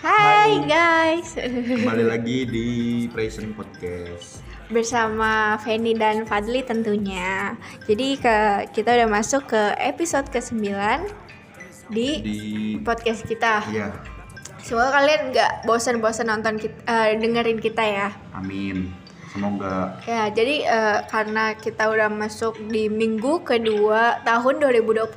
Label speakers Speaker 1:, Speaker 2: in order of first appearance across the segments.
Speaker 1: Hai guys,
Speaker 2: Kembali lagi di Present Podcast.
Speaker 1: bersama Feni dan Fadli tentunya. Jadi ke kita udah masuk ke episode ke-9 di
Speaker 2: Di
Speaker 1: podcast kita.
Speaker 2: ya,
Speaker 1: Semoga kalian nggak bosan-bosan nonton kita, eh, dengerin kita ya.
Speaker 2: amin. Semoga
Speaker 1: Ya, jadi eh, karena kita udah masuk di minggu kedua tahun 2021,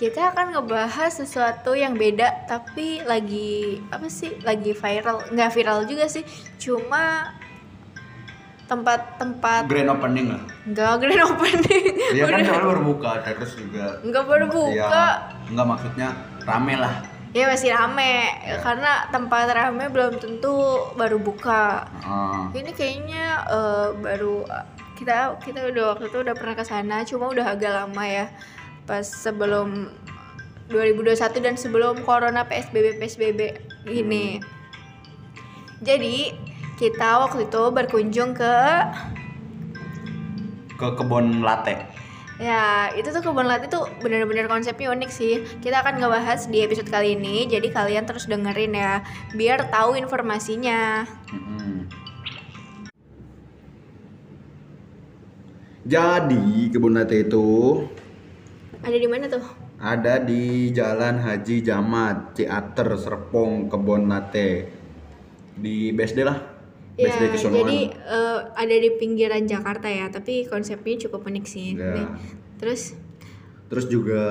Speaker 1: kita akan ngebahas sesuatu yang beda tapi lagi apa sih? Lagi viral. Nggak viral juga sih, cuma tempat-tempat
Speaker 2: grand opening lah.
Speaker 1: nggak grand opening.
Speaker 2: Ya kan
Speaker 1: Udah-
Speaker 2: soalnya baru buka terus juga.
Speaker 1: Nggak baru buka.
Speaker 2: enggak maksudnya rame lah.
Speaker 1: Ya masih rame
Speaker 2: Ya.
Speaker 1: karena tempat rame belum tentu baru buka.
Speaker 2: Heeh.
Speaker 1: ini kayaknya eh, baru kita kita udah waktu itu udah pernah ke sana cuma udah agak lama ya pas sebelum 2021 dan sebelum corona PSBB PSBB gini jadi kita waktu itu berkunjung ke
Speaker 2: ke kebun latte.
Speaker 1: ya itu tuh kebun latte tuh bener-bener konsepnya unik sih kita akan ngebahas di episode kali ini jadi kalian terus dengerin ya biar tahu informasinya
Speaker 2: Mm-mm. Jadi kebun latte itu
Speaker 1: ada di mana tuh
Speaker 2: ada di Jalan Haji Jamat, Ciater, Serpong, Kebon Latte. Di BSD lah.
Speaker 1: Ya,
Speaker 2: BSD Kesonoan.
Speaker 1: jadi eh, ada di pinggiran Jakarta ya, tapi konsepnya cukup unik sih. Nah,
Speaker 2: Ya.
Speaker 1: Terus
Speaker 2: Terus juga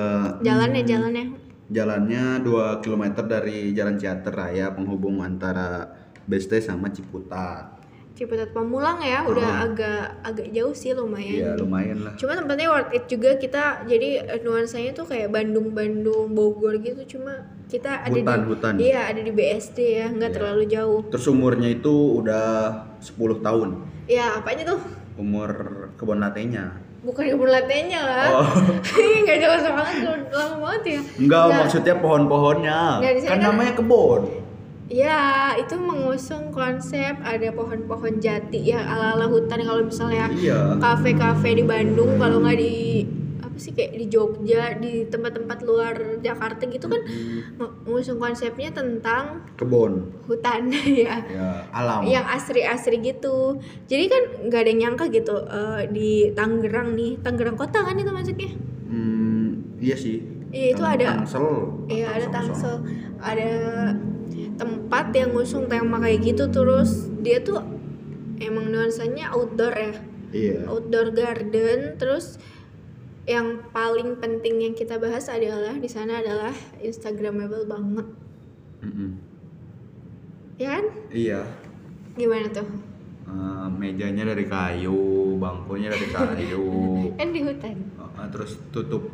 Speaker 1: jalannya
Speaker 2: Hmm.
Speaker 1: jalannya.
Speaker 2: jalannya 2 km dari Jalan Ciater Raya penghubung antara BSD sama Ciputat.
Speaker 1: Ciputat Pamulang ya, udah
Speaker 2: Hmm.
Speaker 1: agak agak jauh sih lumayan.
Speaker 2: Iya, lumayan lah.
Speaker 1: Cuma tempatnya worth it juga kita jadi eh, nuansanya tuh kayak Bandung Bandung Bogor gitu cuma kita ada
Speaker 2: Hutan,
Speaker 1: di
Speaker 2: hutan.
Speaker 1: Iya, ada di BSD ya,
Speaker 2: Iya.
Speaker 1: nggak terlalu jauh.
Speaker 2: Terus umurnya itu udah 10 tahun.
Speaker 1: Ya, apanya tuh?
Speaker 2: Umur kebun latenya.
Speaker 1: Bukan kebun latenya lah. Iya,
Speaker 2: Oh,
Speaker 1: Nggak jauh banget, lama banget ya.
Speaker 2: enggak
Speaker 1: Nah,
Speaker 2: maksudnya pohon-pohonnya.
Speaker 1: Nggak, di sini
Speaker 2: Kan
Speaker 1: kan-
Speaker 2: namanya kebun.
Speaker 1: Ya, itu mengusung konsep ada pohon-pohon jati yang ala-ala hutan kalau misalnya
Speaker 2: Iya.
Speaker 1: kafe-kafe di Bandung kalau nggak di apa sih kayak di Jogja, di tempat-tempat luar Jakarta gitu kan me- mengusung konsepnya tentang
Speaker 2: Kebun.
Speaker 1: hutan ya.
Speaker 2: Ya, alam.
Speaker 1: Yang asri-asri gitu. Jadi kan nggak ada yang nyangka gitu eh, di Tangerang nih, Tangerang kota kan itu masuknya.
Speaker 2: Hmm, iya sih.
Speaker 1: Iya, itu ada-
Speaker 2: Tangsel.
Speaker 1: Iya ada
Speaker 2: Tangsel.
Speaker 1: tangsel, ada tempat yang ngusung tema kayak gitu terus dia tuh emang nuansanya outdoor ya,
Speaker 2: Iya.
Speaker 1: outdoor garden terus yang paling penting yang kita bahas adalah di sana adalah instagramable banget,
Speaker 2: Mm-mm.
Speaker 1: ya kan?
Speaker 2: Iya.
Speaker 1: Gimana tuh?
Speaker 2: Eh, mejanya dari kayu, bangkunya dari kayu,
Speaker 1: Kan di hutan.
Speaker 2: Eh, terus tutup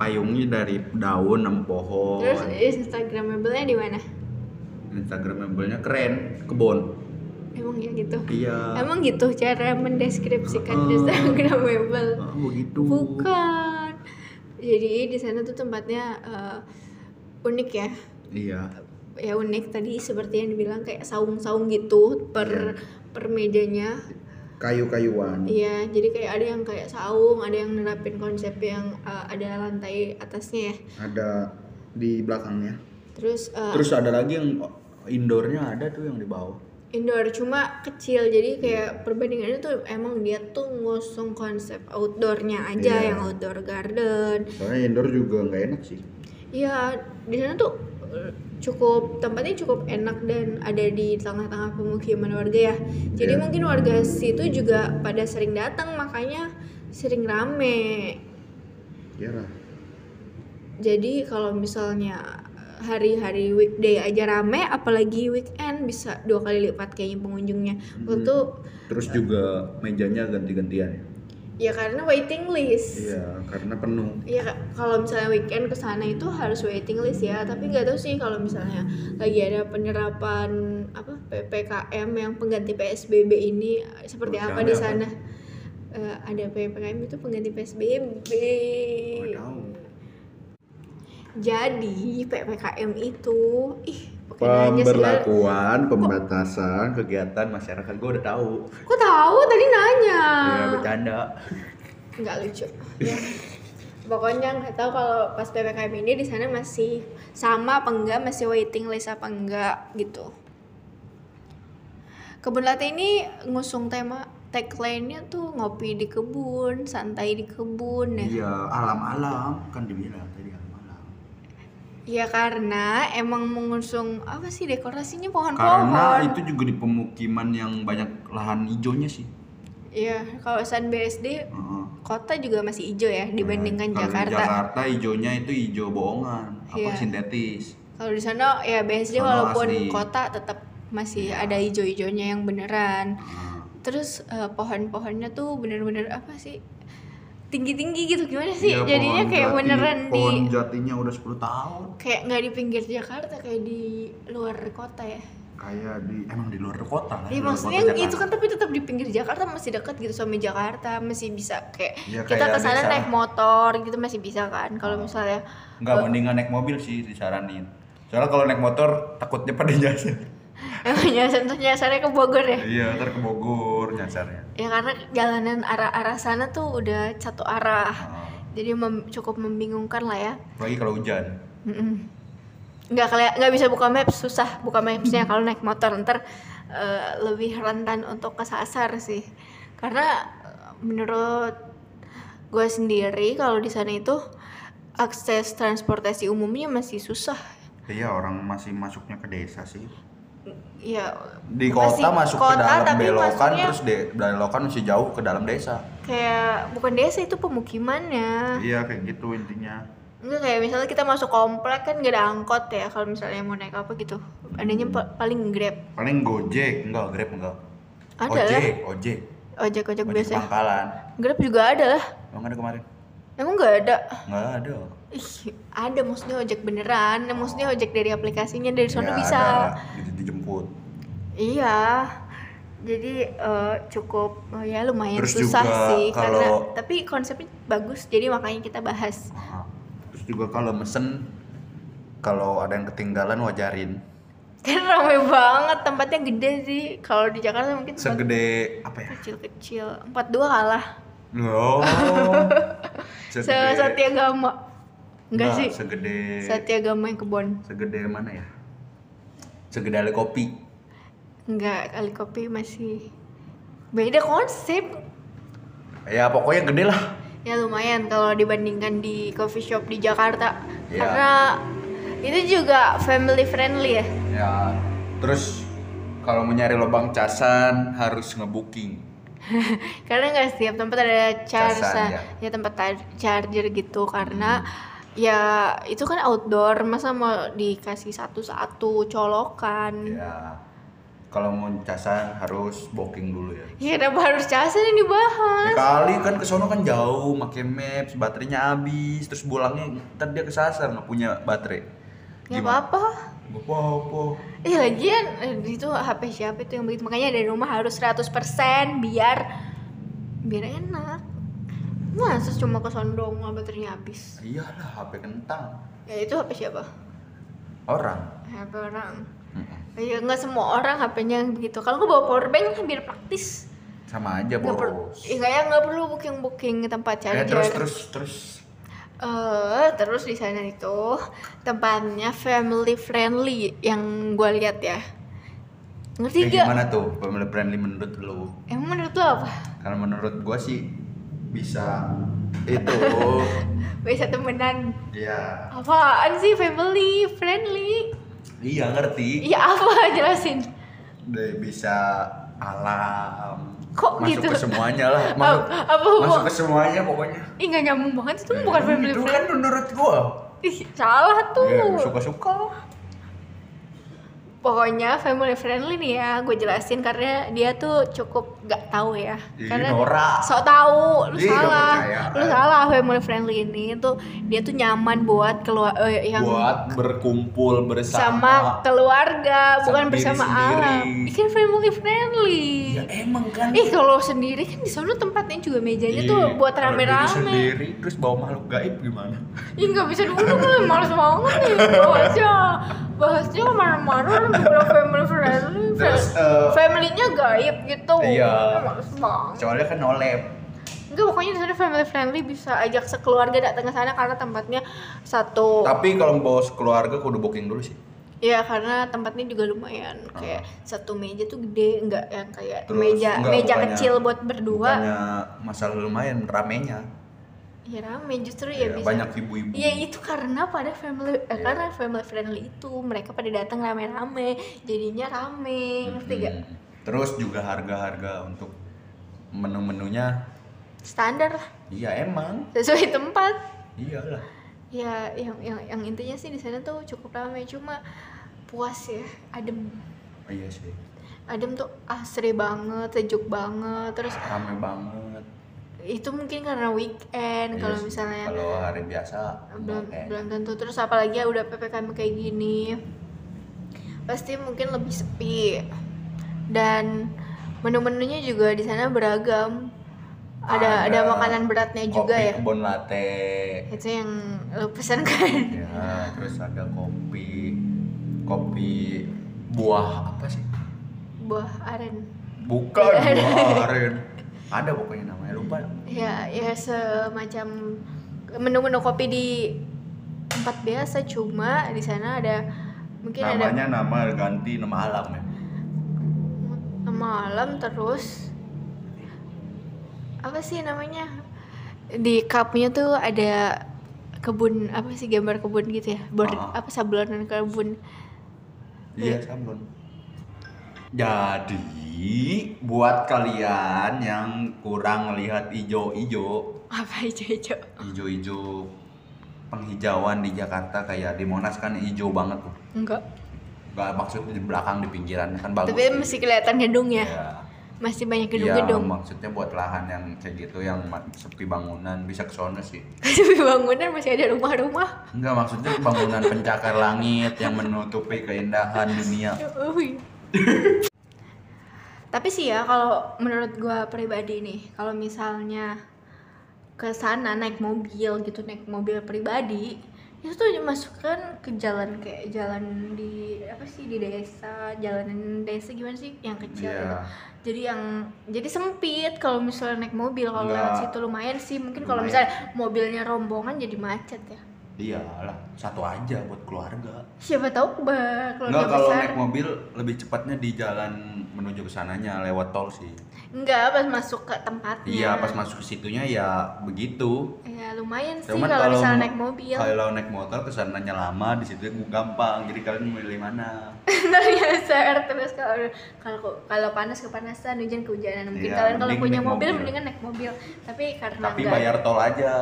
Speaker 2: payungnya dari daun sama pohon.
Speaker 1: Terus eh. instagramable-nya di mana?
Speaker 2: Instagramable-nya keren, kebun.
Speaker 1: Emang ya gitu.
Speaker 2: Iya.
Speaker 1: Emang gitu cara mendeskripsikan
Speaker 2: Heeh.
Speaker 1: instagramable.
Speaker 2: Eh, begitu.
Speaker 1: Bukan. Jadi di sana tuh tempatnya eh, unik ya.
Speaker 2: Iya.
Speaker 1: Ya unik tadi seperti yang dibilang kayak saung-saung gitu
Speaker 2: Iya.
Speaker 1: per per mejanya.
Speaker 2: Kayu-kayuan.
Speaker 1: Iya, jadi kayak ada yang kayak saung, ada yang nerapin konsep yang eh, ada lantai atasnya ya.
Speaker 2: Ada di belakangnya.
Speaker 1: Terus eh,
Speaker 2: Terus ada lagi yang indoornya ada tuh yang di bawah.
Speaker 1: indoor cuma kecil jadi kayak perbandingannya tuh emang dia tuh ngusung konsep outdoornya aja
Speaker 2: Iya.
Speaker 1: yang outdoor garden
Speaker 2: Soalnya indoor juga nggak enak sih.
Speaker 1: Iya, di sana tuh eh, cukup tempatnya cukup enak dan ada di tengah-tengah pemukiman warga ya. Jadi
Speaker 2: Iya.
Speaker 1: mungkin warga situ juga pada sering datang makanya sering rame.
Speaker 2: Iya lah.
Speaker 1: Jadi kalau misalnya eh, hari-hari weekday aja rame, apalagi weekend bisa dua kali lipat kayaknya pengunjungnya. Waktu
Speaker 2: Mm.
Speaker 1: itu
Speaker 2: Terus juga mejanya ganti-gantian ya.
Speaker 1: ya karena waiting list.
Speaker 2: Iya, karena penuh.
Speaker 1: Iya Kak. kalau misalnya weekend ke sana itu harus waiting list ya, tapi nggak tahu sih kalau misalnya lagi ada penerapan apa PPKM yang pengganti PSBB ini eh, seperti apa di
Speaker 2: Penerapan apa?
Speaker 1: sana? Eh, ada PPKM itu pengganti PSBB. Iya. Jadi PPKM itu ih pakai nanya segala.
Speaker 2: Pemberlakuan pembatasan kegiatan masyarakat gue udah tahu.
Speaker 1: Kok tahu tadi nanya?
Speaker 2: Ya bercanda.
Speaker 1: nggak lucu ya. pokoknya nggak tahu kalau pas ppkm ini di sana masih sama apa enggak masih waiting list apa enggak gitu kebun latte ini ngusung tema tagline-nya tuh ngopi di kebun santai di kebun ya
Speaker 2: Iya, alam-alam kan dibilang tadi alam-alam.
Speaker 1: Ya karena emang mengusung apa sih dekorasinya
Speaker 2: Karena
Speaker 1: pohon-pohon.
Speaker 2: itu juga di pemukiman yang banyak lahan hijaunya sih.
Speaker 1: Iya, kawasan BSD
Speaker 2: Heeh.
Speaker 1: kota juga masih hijau ya
Speaker 2: Kalau
Speaker 1: dibandingkan
Speaker 2: di
Speaker 1: Jakarta.
Speaker 2: Hmm, Jakarta hijaunya itu hijau bohongan, apa
Speaker 1: Iya.
Speaker 2: sintetis.
Speaker 1: Kalau di sana ya BSD
Speaker 2: Sana
Speaker 1: walaupun
Speaker 2: asli.
Speaker 1: kota tetap masih
Speaker 2: Iya.
Speaker 1: ada hijau-hijaunya yang beneran.
Speaker 2: Heeh.
Speaker 1: Terus eh, pohon-pohonnya tuh bener-bener apa sih? Tinggi-tinggi gitu gimana sih?
Speaker 2: Iya,
Speaker 1: Jadinya
Speaker 2: pohon
Speaker 1: kayak
Speaker 2: jati-
Speaker 1: beneran di
Speaker 2: pohon jatinya udah 10 tahun.
Speaker 1: kayak nggak di pinggir Jakarta kayak di luar kota ya.
Speaker 2: Kayak di emang di luar kota lah. di Iya,
Speaker 1: Ya,
Speaker 2: luar
Speaker 1: maksudnya
Speaker 2: kota
Speaker 1: itu
Speaker 2: Jakarta.
Speaker 1: kan tapi tetap di pinggir Jakarta masih dekat gitu sama Jakarta masih bisa kayak
Speaker 2: Ya,
Speaker 1: kita
Speaker 2: kayak Ah.
Speaker 1: ke sana
Speaker 2: desa.
Speaker 1: naik motor gitu masih bisa kan kalau misalnya
Speaker 2: Nggak mendingan naik mobil sih disaranin. Soalnya kalau naik motor takutnya pada nyasar.
Speaker 1: ya contohnya saya ke Bogor ya
Speaker 2: iya, ntar ke Bogor nyasarnya.
Speaker 1: ya karena jalanan arah-arah sana tuh udah satu arah
Speaker 2: Heeh.
Speaker 1: jadi mem- cukup membingungkan lah ya
Speaker 2: Ah, Apalagi kalau hujan.
Speaker 1: Mm-mm. nggak kayak nggak bisa buka maps susah buka mapsnya kalau naik motor ntar eh, lebih rentan untuk kesasar sih karena eh, menurut gue sendiri kalau di sana itu akses transportasi umumnya masih susah
Speaker 2: Iya, orang masih masuknya ke desa sih.
Speaker 1: ya
Speaker 2: Di
Speaker 1: masih
Speaker 2: kota masuk
Speaker 1: kota,
Speaker 2: ke dalam
Speaker 1: tapi
Speaker 2: belokan
Speaker 1: masuknya
Speaker 2: terus de belokan masih jauh ke dalam desa.
Speaker 1: kayak bukan desa itu pemukimannya
Speaker 2: Iya, kayak gitu intinya.
Speaker 1: Enggak kayak misalnya kita masuk komplek kan gak ada angkot ya kalau misalnya mau naik apa gitu adanya pa- paling grab
Speaker 2: Paling Gojek, enggak Grab enggak.
Speaker 1: Ada
Speaker 2: ojek, ojek,
Speaker 1: ojek ojek
Speaker 2: ojek
Speaker 1: biasa ya?
Speaker 2: pangkalan.
Speaker 1: grab juga ada lah
Speaker 2: Emang ada kemarin?
Speaker 1: emang nggak ada
Speaker 2: Enggak ada.
Speaker 1: Ih, ada maksudnya ojek beneran, Nah, maksudnya ojek dari aplikasinya dari sana
Speaker 2: Ya,
Speaker 1: bisa.
Speaker 2: ada. Di- dijemput.
Speaker 1: Iya. Jadi eh, cukup oh ya lumayan
Speaker 2: Terus
Speaker 1: susah
Speaker 2: juga
Speaker 1: sih karena
Speaker 2: kalau-
Speaker 1: tapi konsepnya bagus jadi makanya kita bahas.
Speaker 2: Heeh. Terus juga kalau mesen kalau ada yang ketinggalan wajarin.
Speaker 1: Kan ramai banget tempatnya gede sih. Kalau di Jakarta mungkin tempat
Speaker 2: Segede apa ya?
Speaker 1: kecil-kecil. 42 kalah.
Speaker 2: Oh.
Speaker 1: Se Satya Gama. Enggak sih.
Speaker 2: Segede
Speaker 1: Satya Gama yang kebon.
Speaker 2: segede mana ya? Segede ale kopi.
Speaker 1: Enggak, kali kopi masih beda konsep.
Speaker 2: Ya pokoknya gede lah.
Speaker 1: ya lumayan kalau dibandingkan di coffee shop di Jakarta
Speaker 2: Iya.
Speaker 1: karena itu juga family friendly ya
Speaker 2: Ya. Terus kalau mau nyari lubang casan harus ngebooking.
Speaker 1: karena nggak setiap tempat ada
Speaker 2: Casan,
Speaker 1: charger
Speaker 2: ya.
Speaker 1: ya. tempat tar- charger gitu karena ya itu kan outdoor masa mau dikasih satu-satu colokan
Speaker 2: Ya. Kalau mau casan harus booking dulu ya.
Speaker 1: ya kenapa harus casan yang dibahas
Speaker 2: Ya kali kan ke sono kan jauh, pakai maps, baterainya habis, terus pulangnya ntar dia kesasar nggak punya baterai.
Speaker 1: nggak apa-apa
Speaker 2: Gak apa-apa.
Speaker 1: Iya lagian eh, itu HP siapa itu yang begitu makanya dari rumah harus 100% biar biar enak. Masa cuma kesondong sama baterainya habis.
Speaker 2: Iyalah HP kentang.
Speaker 1: Ya itu HP siapa?
Speaker 2: Orang.
Speaker 1: HP orang.
Speaker 2: Mm-mm.
Speaker 1: Ya nggak semua orang HP-nya yang begitu. Kalau gue bawa power bank ya biar praktis.
Speaker 2: Sama aja
Speaker 1: Nggak perlu.
Speaker 2: boros.
Speaker 1: Ya nggak ya nggak perlu booking booking tempat
Speaker 2: Ya,
Speaker 1: charger.
Speaker 2: terus terus terus
Speaker 1: Eh, terus di sana itu tempatnya family friendly yang gue lihat ya.
Speaker 2: Kayak
Speaker 1: Ngerti gak?
Speaker 2: Ya, gimana tuh family friendly menurut lu?
Speaker 1: Emang menurut lo apa?
Speaker 2: Karena menurut gua sih bisa itu
Speaker 1: Bisa temenan
Speaker 2: ya
Speaker 1: Apaan sih family friendly?
Speaker 2: iya ngerti
Speaker 1: Ya apa jelasin?
Speaker 2: Dia bisa alam
Speaker 1: Kok
Speaker 2: masuk
Speaker 1: gitu?
Speaker 2: ke semuanya lah
Speaker 1: Apa-
Speaker 2: masuk,
Speaker 1: apa
Speaker 2: masuk
Speaker 1: hubung-
Speaker 2: ke semuanya pokoknya
Speaker 1: Ih nggak nyambung banget itu bukan family
Speaker 2: itu kan
Speaker 1: friendly.
Speaker 2: menurut gua
Speaker 1: Ih, salah tuh.
Speaker 2: suka suka
Speaker 1: Pokoknya family friendly nih ya, gue jelasin karena dia tuh cukup nggak tahu ya.
Speaker 2: Ih,
Speaker 1: Karena
Speaker 2: norak.
Speaker 1: sok tahu, lu
Speaker 2: Ih, nggak
Speaker 1: salah,
Speaker 2: percayaan.
Speaker 1: lu salah family friendly ini tuh dia tuh nyaman buat keluar eh, yang
Speaker 2: buat berkumpul
Speaker 1: sama
Speaker 2: bersama Sama
Speaker 1: keluarga, bukan
Speaker 2: diri
Speaker 1: bersama
Speaker 2: sendiri.
Speaker 1: alam. Bikin family friendly.
Speaker 2: ya emang kan
Speaker 1: Ih kalau sendiri kan di sana tempatnya juga mejanya
Speaker 2: Iya,
Speaker 1: tuh buat
Speaker 2: kalau diri
Speaker 1: rame-rame.
Speaker 2: sendiri terus bawa makhluk gaib gimana
Speaker 1: Ih nggak bisa dulu gue males banget nih bahasnya. Bahasnya kemana-mana orang bilang family friendly.
Speaker 2: Terus, eh,
Speaker 1: Family-nya gaib gitu.
Speaker 2: Iya.
Speaker 1: Males banget.
Speaker 2: soalnya kan nolep
Speaker 1: Enggak, pokoknya di sana family friendly bisa ajak sekeluarga datang ke sana karena tempatnya satu.
Speaker 2: Tapi kalau mau bawa keluarga kudu booking dulu sih.
Speaker 1: Ya karena tempatnya juga lumayan kayak satu meja tuh gede, enggak yang kayak
Speaker 2: Ah. Terus,
Speaker 1: meja
Speaker 2: enggak,
Speaker 1: meja
Speaker 2: bukannya-
Speaker 1: kecil buat berdua.
Speaker 2: Bukannya masalah lumayan ramenya.
Speaker 1: Ya rame justru ya,
Speaker 2: Ya,
Speaker 1: bisa.
Speaker 2: banyak ibu-ibu.
Speaker 1: Ya itu karena pada family
Speaker 2: Iya.
Speaker 1: eh, karena family friendly itu mereka pada datang rame-rame, jadinya rame, iya, ngerti gak?
Speaker 2: Hmm. Terus juga harga-harga untuk menu-menunya
Speaker 1: Standar lah,
Speaker 2: iya emang.
Speaker 1: sesuai tempat.
Speaker 2: Iyalah.
Speaker 1: Ya yang yang, yang intinya sih di sana tuh cukup rame, cuma puas ya, adem.
Speaker 2: Oh, iya sih.
Speaker 1: Adem tuh asri banget, sejuk banget. Terus
Speaker 2: Rame banget.
Speaker 1: itu mungkin karena
Speaker 2: Iya
Speaker 1: weekend Kan kalau
Speaker 2: sih.
Speaker 1: misalnya
Speaker 2: kalau hari biasa
Speaker 1: belum
Speaker 2: enggak
Speaker 1: belum tentu terus apalagi ya udah ppkm kayak gini pasti mungkin lebih sepi dan menu-menunya juga di sana beragam ada ada,
Speaker 2: Ada
Speaker 1: makanan beratnya
Speaker 2: kayaknya.
Speaker 1: juga
Speaker 2: kopi
Speaker 1: ya
Speaker 2: kebun latte
Speaker 1: itu yang lo pesan kan
Speaker 2: ya terus ada kopi kopi buah apa sih
Speaker 1: buah aren
Speaker 2: bukan buah aren ada pokoknya namanya lupa
Speaker 1: ya ya semacam menu-menu kopi di tempat biasa cuma di sana ada mungkin ada
Speaker 2: namanya nama ganti nama alam ya
Speaker 1: malam terus apa sih namanya di cupnya tuh ada kebun apa sih gambar kebun gitu ya Bor-
Speaker 2: Ah.
Speaker 1: apa sablonan kebun
Speaker 2: iya sablon jadi buat kalian yang kurang lihat ijo-ijo
Speaker 1: apa hijau-hijau
Speaker 2: ijo-ijo penghijauan di Jakarta kayak di Monas kan hijau banget tuh.
Speaker 1: enggak
Speaker 2: Gak maksud di belakang di pinggiran kan bagus.
Speaker 1: tapi masih kelihatan gedung ya
Speaker 2: Iya.
Speaker 1: masih banyak
Speaker 2: Iya,
Speaker 1: gedung-gedung
Speaker 2: maksudnya buat lahan yang kayak gitu yang ma- sepi bangunan bisa ke sono sih.
Speaker 1: tapi bangunan masih ada rumah-rumah
Speaker 2: Enggak maksudnya bangunan pencakar langit yang menutupi keindahan dunia.
Speaker 1: Ui. Tapi sih ya kalau menurut gua pribadi nih, kalau misalnya ke sana naik mobil gitu, naik mobil pribadi, itu tuh dimasukkan ke jalan kayak jalan di apa sih di desa, jalanan desa gimana sih yang kecil gitu.
Speaker 2: Iya.
Speaker 1: Jadi yang jadi sempit kalau misalnya naik mobil kalau
Speaker 2: Nggak.
Speaker 1: lewat situ lumayan sih mungkin kalau
Speaker 2: Lumayan.
Speaker 1: misalnya mobilnya rombongan jadi macet ya.
Speaker 2: Iyalah, satu aja buat keluarga.
Speaker 1: Siapa tahu bah kalau
Speaker 2: Enggak
Speaker 1: udah
Speaker 2: kalau
Speaker 1: besar.
Speaker 2: naik mobil lebih cepatnya di jalan menuju ke sananya lewat tol sih.
Speaker 1: Enggak, pas masuk ke tempatnya.
Speaker 2: Iya, pas masuk ke situnya ya begitu.
Speaker 1: Ya lumayan sih
Speaker 2: Cuman
Speaker 1: kalau
Speaker 2: kalau
Speaker 1: misalnya naik mobil.
Speaker 2: Kalau naik motor kesananya lama, di situ gampang. Jadi kalian milih mana?
Speaker 1: Ntar nyasar terus kalau kalau kalau panas kepanasan, hujan kehujanan. Mungkin
Speaker 2: Iya,
Speaker 1: kalian kalau
Speaker 2: mending
Speaker 1: punya
Speaker 2: naik
Speaker 1: mobil,
Speaker 2: mobil.
Speaker 1: mendingan naik mobil. Tapi karena
Speaker 2: Tapi
Speaker 1: nggak-
Speaker 2: bayar tol aja.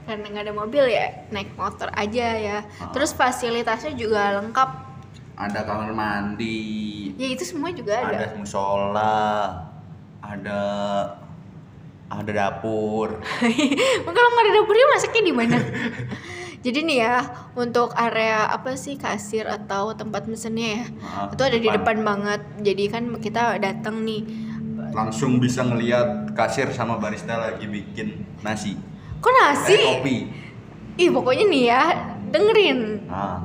Speaker 1: karena nggak ada mobil ya naik motor aja ya.
Speaker 2: Ah.
Speaker 1: Terus fasilitasnya juga lengkap.
Speaker 2: Ada kamar mandi,
Speaker 1: Ya itu semua juga ada.
Speaker 2: ada musola, ada ada dapur.
Speaker 1: Mungkin kalau nggak ada dapurnya masaknya di mana? Jadi nih ya untuk area apa sih kasir atau tempat mesennya ya
Speaker 2: Ah,
Speaker 1: itu ada di depan banget. Jadi kan kita datang nih
Speaker 2: Langsung bisa ngelihat kasir sama barista lagi bikin nasi,
Speaker 1: Kok nasi?
Speaker 2: Eh, kopi.
Speaker 1: Ih pokoknya nih ya dengerin
Speaker 2: Ah,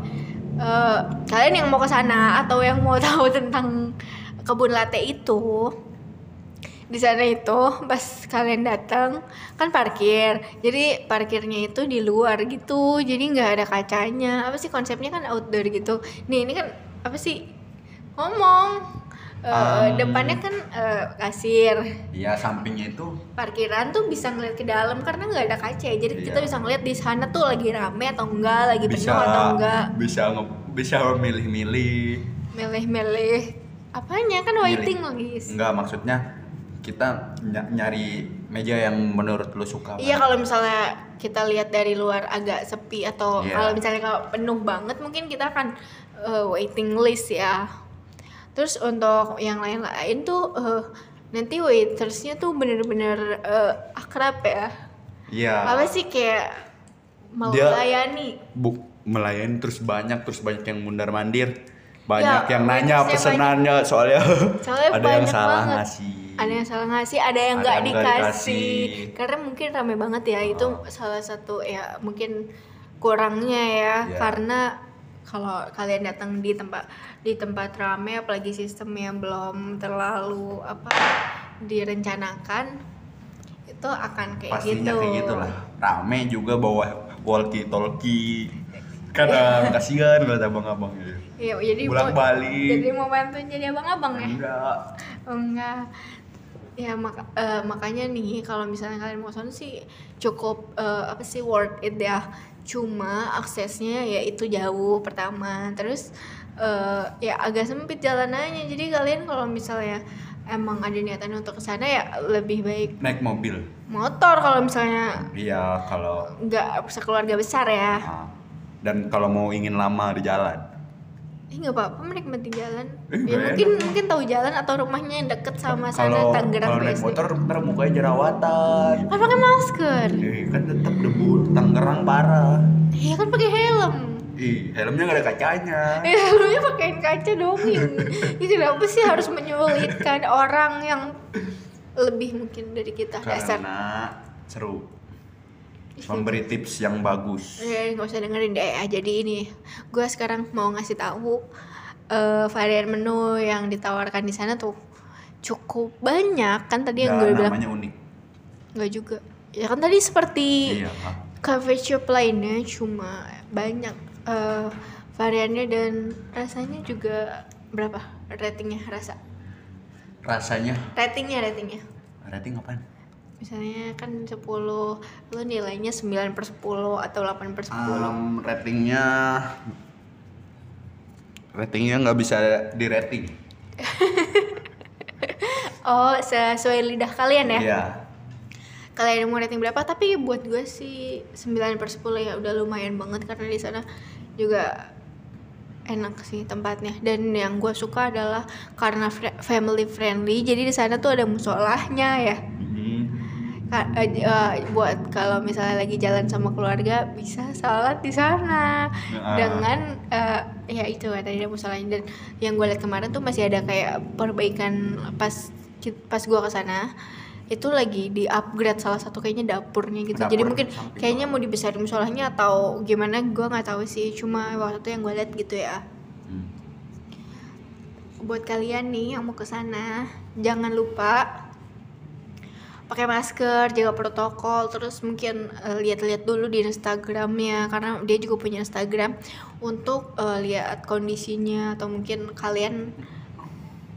Speaker 1: Eh, kalian yang mau ke sana atau yang mau tahu tentang kebun latte itu di sana itu pas kalian datang kan parkir jadi parkirnya itu di luar gitu jadi nggak ada kacanya apa sih konsepnya kan outdoor gitu nih ini kan apa sih ngomong Eh,
Speaker 2: Um.
Speaker 1: depannya kan eh, kasir
Speaker 2: iya sampingnya itu
Speaker 1: parkiran tuh bisa ngeliat ke dalam karena nggak ada kaca ya. jadi
Speaker 2: Iya.
Speaker 1: kita bisa ngeliat di sana tuh lagi rame atau enggak lagi
Speaker 2: bisa
Speaker 1: penuh atau enggak
Speaker 2: bisa nge- bisa milih-milih.
Speaker 1: milih-milih apanya kan waiting list
Speaker 2: Enggak, maksudnya kita ny- nyari meja yang menurut lu suka.
Speaker 1: iya kalau misalnya kita lihat dari luar agak sepi atau
Speaker 2: Iya.
Speaker 1: kalau misalnya kalau penuh banget mungkin kita akan eh, waiting list ya terus untuk yang lain-lain tuh eh, nanti waitersnya tuh bener-bener eh, akrab ya
Speaker 2: Iya.
Speaker 1: apa sih kayak mau
Speaker 2: Dia-
Speaker 1: melayani
Speaker 2: Bu melayani terus banyak terus banyak yang mundar mandir. Banyak
Speaker 1: Ya,
Speaker 2: yang nanya
Speaker 1: saya
Speaker 2: pesenannya soalnya,
Speaker 1: Soalnya
Speaker 2: ada yang
Speaker 1: banyak
Speaker 2: salah
Speaker 1: banget.
Speaker 2: ngasih.
Speaker 1: ada yang salah ngasih ada yang
Speaker 2: Ada
Speaker 1: nggak
Speaker 2: yang nggak
Speaker 1: dikasih.
Speaker 2: dikasih. Ah.
Speaker 1: karena mungkin rame banget ya itu salah satu ya mungkin kurangnya ya
Speaker 2: Iya.
Speaker 1: karena kalau kalian datang di tempat di tempat rame apalagi sistem yang belum terlalu apa direncanakan itu akan kayak
Speaker 2: pastinya
Speaker 1: gitu.
Speaker 2: kayak gitulah rame juga bawa walkie talkie kadang kasihan buat abang-abang gitu
Speaker 1: Iya, jadi
Speaker 2: Bolak
Speaker 1: mau-
Speaker 2: balik.
Speaker 1: Jadi mau bantu jadi abang-abang ya.
Speaker 2: enggak
Speaker 1: Enggak. Ya mak- eh, makanya nih kalau misalnya kalian mau sono sih cukup eh, apa sih worth it ya. Cuma aksesnya ya itu jauh pertama. Terus eh, ya agak sempit jalanannya. Jadi kalian kalau misalnya emang ada niatan untuk ke sana ya lebih baik
Speaker 2: naik mobil
Speaker 1: motor kalau misalnya
Speaker 2: iya kalau
Speaker 1: nggak sekeluarga besar ya.
Speaker 2: ah, dan kalau mau ingin lama di jalan
Speaker 1: Eh nggak apa-apa menikmati jalan.
Speaker 2: Eh,
Speaker 1: ya
Speaker 2: nggak
Speaker 1: mungkin mungkin tahu jalan atau rumahnya yang deket sama sana
Speaker 2: kalau
Speaker 1: Tangerang
Speaker 2: kalau naik
Speaker 1: BSD.
Speaker 2: motor ntar mukanya jerawatan
Speaker 1: Kan pakai masker.
Speaker 2: Eh, kan tetap debu Tangerang parah
Speaker 1: Iya kan pakai helm.
Speaker 2: ih helmnya gak ada kacanya
Speaker 1: Eh, helmnya pakaiin kaca dong. Ini kenapa sih harus menyulitkan orang yang lebih mungkin dari kita Eh, dasar.
Speaker 2: karena seru memberi tips yang bagus
Speaker 1: Eh, nggak usah dengerin deh. Jadi ini, gue sekarang mau ngasih tahu eh, varian menu yang ditawarkan di sana tuh cukup banyak kan tadi
Speaker 2: Dan
Speaker 1: yang gue bilang
Speaker 2: namanya unik
Speaker 1: nggak juga. Ya kan tadi seperti
Speaker 2: iya Kak.
Speaker 1: cafe shop lainnya cuma banyak eh, variannya dan rasanya juga berapa ratingnya rasa
Speaker 2: rasanya
Speaker 1: ratingnya ratingnya
Speaker 2: rating apaan?
Speaker 1: misalnya kan 10 lo nilainya 9 per 10 atau 8 per 10
Speaker 2: Um, ratingnya ratingnya nggak bisa di rating
Speaker 1: oh sesuai lidah kalian ya
Speaker 2: iya
Speaker 1: kalian mau rating berapa tapi buat gue sih 9 per 10 ya udah lumayan banget karena di sana juga enak sih tempatnya dan yang gue suka adalah karena fri- family friendly jadi di sana tuh ada musolahnya ya
Speaker 2: Hmm.
Speaker 1: Ka- eh, j- eh, buat kalau misalnya lagi jalan sama keluarga bisa salat di sana
Speaker 2: Ya.
Speaker 1: dengan eh, ya itu tadi ada musolanya dan yang gue lihat kemarin tuh masih ada kayak perbaikan pas ki- pas gue kesana itu lagi di upgrade salah satu kayaknya dapurnya gitu jadi
Speaker 2: Dapur,
Speaker 1: mungkin
Speaker 2: samping.
Speaker 1: kayaknya mau dibesarin musolahnya atau gimana gue nggak tahu sih cuma waktu itu yang gue lihat gitu ya
Speaker 2: Hmm.
Speaker 1: buat kalian nih yang mau ke sana jangan lupa pakai masker jaga protokol terus mungkin eh, lihat-lihat dulu di Instagramnya karena dia juga punya Instagram untuk eh, lihat kondisinya atau mungkin kalian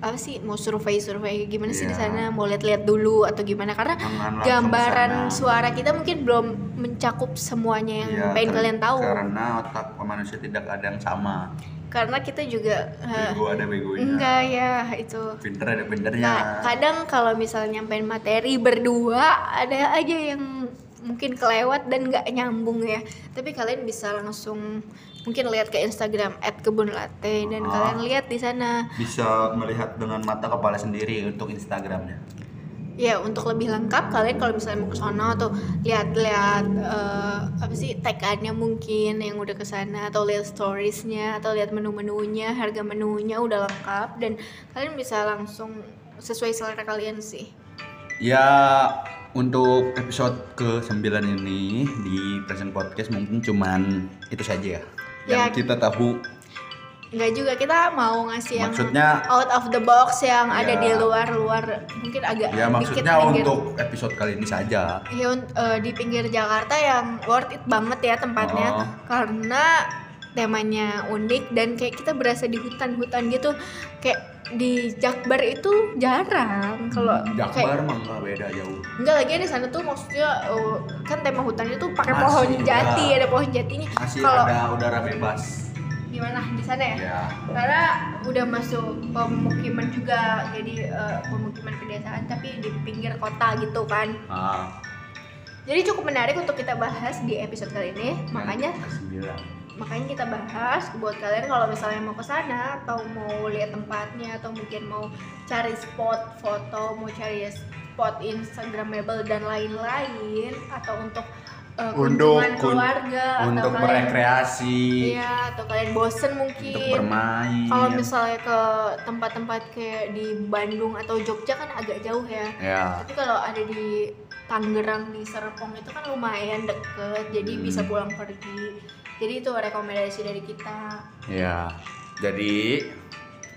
Speaker 1: apa sih mau survei-survei gimana sih di
Speaker 2: Iya.
Speaker 1: sana mau lihat-lihat dulu atau gimana karena
Speaker 2: Jangan langsung
Speaker 1: gambaran
Speaker 2: kesana.
Speaker 1: suara kita mungkin belum mencakup semuanya yang
Speaker 2: Iya,
Speaker 1: pengen
Speaker 2: ter-
Speaker 1: kalian tahu
Speaker 2: karena otak manusia tidak ada yang sama
Speaker 1: karena kita juga eh,
Speaker 2: bego ada begonya
Speaker 1: enggak ya itu
Speaker 2: pinter ada pinternya
Speaker 1: Nah, kadang kalau misalnya nyampein materi berdua ada aja yang mungkin kelewat dan nggak nyambung ya. Tapi kalian bisa langsung mungkin lihat ke Instagram @kebunlatte dan
Speaker 2: Ah.
Speaker 1: kalian lihat di sana.
Speaker 2: bisa melihat dengan mata kepala sendiri untuk Instagramnya
Speaker 1: Ya, untuk lebih lengkap kalian kalau misalnya mau ke sono atau lihat-lihat eh, apa sih tag-annya mungkin yang udah ke sana atau lihat storiesnya atau lihat menu-menunya, harga menunya udah lengkap dan kalian bisa langsung sesuai selera kalian sih.
Speaker 2: Ya untuk episode ke-9 ini di Present Podcast mungkin cuman itu saja ya. Yang
Speaker 1: Ya.
Speaker 2: kita tahu
Speaker 1: Enggak juga kita mau ngasih yang
Speaker 2: Maksudnya-
Speaker 1: out of the box yang
Speaker 2: Ya.
Speaker 1: ada di luar-luar mungkin agak
Speaker 2: ya
Speaker 1: dikit
Speaker 2: maksudnya
Speaker 1: pinggir.
Speaker 2: untuk episode kali ini saja.
Speaker 1: ya un- eh, di pinggir Jakarta yang worth it banget ya tempatnya
Speaker 2: Oh.
Speaker 1: karena temanya unik dan kayak kita berasa di hutan-hutan gitu kayak di Jakbar itu jarang kalau kayak
Speaker 2: Hmm, Jakbar mah nggak beda jauh.
Speaker 1: enggak lagi di sana tuh maksudnya eh, kan tema hutannya tuh pakai
Speaker 2: Masih,
Speaker 1: pohon jati
Speaker 2: ya.
Speaker 1: ada pohon jatinya
Speaker 2: Masih
Speaker 1: kalau
Speaker 2: ada udara bebas.
Speaker 1: gimana di sana ya
Speaker 2: Ya.
Speaker 1: karena udah masuk pemukiman juga jadi eh, pemukiman pedesaan tapi di pinggir kota gitu kan
Speaker 2: Ah,
Speaker 1: jadi cukup menarik untuk kita bahas di episode kali ini makanya
Speaker 2: sembilan.
Speaker 1: makanya kita bahas buat kalian kalau misalnya mau ke sana atau mau lihat tempatnya atau mungkin mau cari spot foto mau cari spot instagramable dan lain-lain atau untuk eh,
Speaker 2: Untuk
Speaker 1: kunjungan
Speaker 2: kun-
Speaker 1: keluarga
Speaker 2: Untuk
Speaker 1: atau Eh, kalian
Speaker 2: berekreasi,
Speaker 1: iya atau kalian bosen
Speaker 2: untuk
Speaker 1: mungkin
Speaker 2: bermain.
Speaker 1: kalau misalnya ke tempat-tempat kayak di Bandung atau Jogja kan agak jauh ya.
Speaker 2: ya.
Speaker 1: Tapi kalau ada di Tangerang di Serpong itu kan lumayan deket, jadi
Speaker 2: Hmm.
Speaker 1: bisa pulang pergi. Jadi itu rekomendasi dari kita.
Speaker 2: Ya. Jadi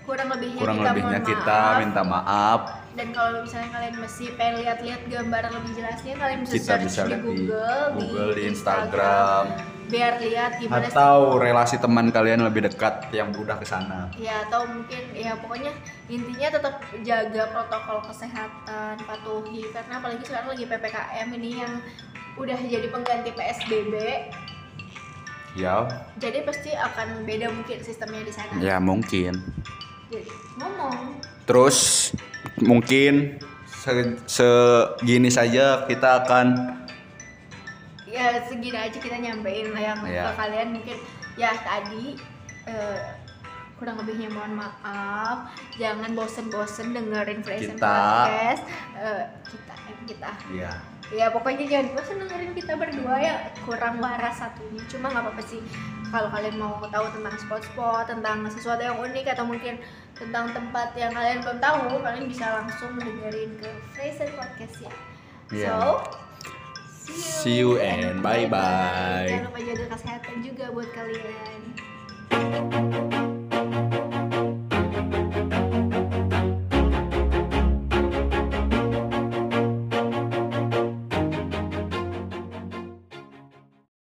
Speaker 1: Kurang lebihnya
Speaker 2: kurang
Speaker 1: kita
Speaker 2: lebihnya
Speaker 1: Iya, mohon
Speaker 2: kita
Speaker 1: maaf.
Speaker 2: minta maaf
Speaker 1: dan kalau misalnya kalian masih pengen lihat-lihat gambar lebih jelasnya kalian bisa
Speaker 2: kita
Speaker 1: search
Speaker 2: bisa
Speaker 1: di
Speaker 2: lihat di
Speaker 1: Google,
Speaker 2: Google, di Instagram,
Speaker 1: biar lihat gimana sih
Speaker 2: atau relasi teman kalian lebih dekat yang udah ke sana.
Speaker 1: ya atau mungkin ya pokoknya intinya tetap jaga protokol kesehatan patuhi karena apalagi sekarang lagi ppkm ini yang udah jadi pengganti psbb
Speaker 2: Ya,
Speaker 1: jadi pasti akan beda mungkin sistemnya di sana
Speaker 2: ya mungkin.
Speaker 1: jadi ngomong
Speaker 2: Terus mungkin se- segini saja kita akan
Speaker 1: ya segini aja kita nyampein lah yang
Speaker 2: Iya.
Speaker 1: ke kalian mungkin ya tadi eh, kurang lebihnya mohon maaf jangan bosen-bosen dengerin
Speaker 2: Kita.
Speaker 1: Fresh Podcast Eh, kita eh, kita
Speaker 2: ya
Speaker 1: ya pokoknya jangan bosen dengerin kita berdua ya kurang waras satunya cuma nggak apa-apa sih kalau kalian mau tahu tentang spot-spot tentang sesuatu yang unik atau mungkin tentang tempat yang kalian belum tahu kalian bisa langsung dengerin ke Fresh Podcast ya
Speaker 2: Iya.
Speaker 1: so
Speaker 2: See you and bye-bye.
Speaker 1: Jangan lupa jaga kesehatan juga buat kalian.